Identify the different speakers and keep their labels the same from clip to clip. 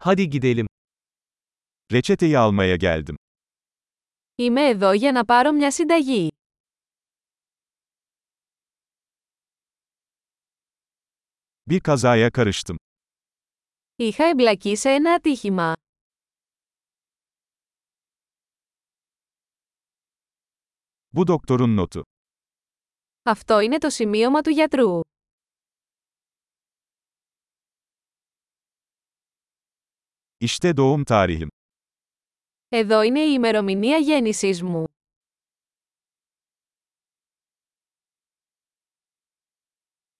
Speaker 1: Hadi gidelim. Reçeteyi almaya geldim.
Speaker 2: Είμαι εδώ για να πάρω μια συνταγή.
Speaker 1: Bir kazaya karıştım.
Speaker 2: Είχα εμπλακεί σε ένα ατύχημα.
Speaker 1: Bu doktorun notu.
Speaker 2: Αυτό είναι το σημείωμα του γιατρού.
Speaker 1: İşte doğum tarihim.
Speaker 2: Εδώ είναι η ημερομηνία γέννησής μου.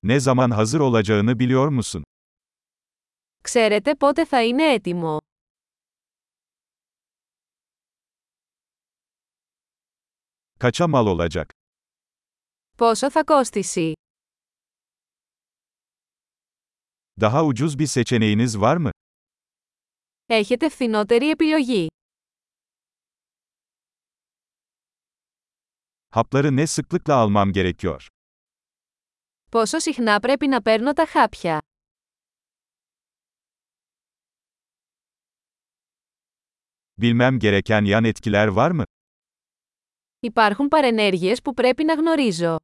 Speaker 1: Ne zaman hazır olacağını biliyor musun?
Speaker 2: Ξέρετε πότε θα είναι έτοιμο.
Speaker 1: Kaça mal olacak?
Speaker 2: Πόσο θα κόστησει.
Speaker 1: Daha ucuz bir seçeneğiniz var mı?
Speaker 2: Έχετε φθηνότερη επιλογή.
Speaker 1: Hapları ne sıklıkla almam gerekiyor?
Speaker 2: Πόσο συχνά πρέπει να παίρνω τα χάπια.
Speaker 1: Bilmem gereken yan etkiler var mı?
Speaker 2: Υπάρχουν παρενέργειες που πρέπει να γνωρίζω.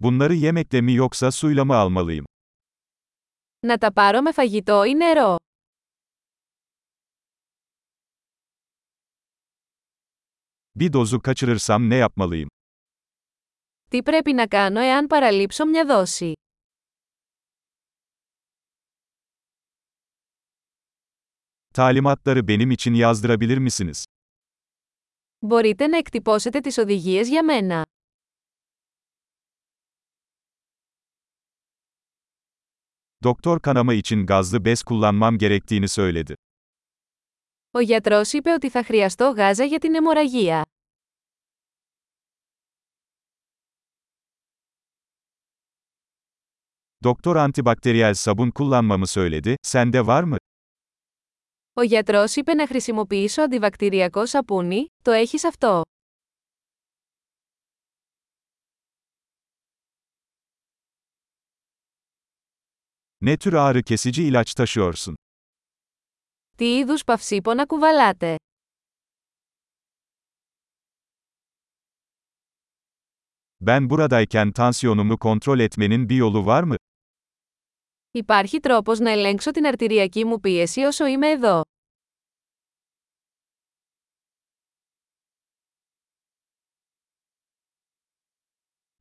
Speaker 1: Bunları yemekle mi yoksa suyla mı almalıyım?
Speaker 2: Να τα πάρω με φαγητό ή νερό.
Speaker 1: Bir dozu kaçırırsam ne yapmalıyım?
Speaker 2: Τι πρέπει να κάνω εάν παραλείψω μια δόση.
Speaker 1: Talimatları benim için yazdırabilir misiniz?
Speaker 2: Μπορείτε να εκτυπώσετε τις οδηγίες για μένα.
Speaker 1: Doktor kanama için gazlı bez kullanmam gerektiğini söyledi.
Speaker 2: Ο γιατρός είπε ότι θα χρειαστώ γάζα για την αιμορραγία.
Speaker 1: Doktor antibakteriyel sabun kullanmamı söyledi. Sende var mı?
Speaker 2: Ο γιατρός είπε να χρησιμοποιήσω αντιβακτηριακό σαπούνι, το έχεις αυτό.
Speaker 1: Ne tür ağrı kesici ilaç taşıyorsun?
Speaker 2: Τι είδους παυσίπονα κουβαλάτε.
Speaker 1: Ben buradayken tansiyonumu kontrol etmenin bir yolu var mı?
Speaker 2: Υπάρχει τρόπος να ελέγξω την αρτηριακή μου πίεση όσο είμαι εδώ.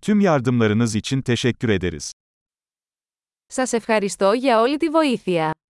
Speaker 1: Tüm yardımlarınız için teşekkür ederiz.
Speaker 2: Σας ευχαριστώ για όλη τη βοήθεια.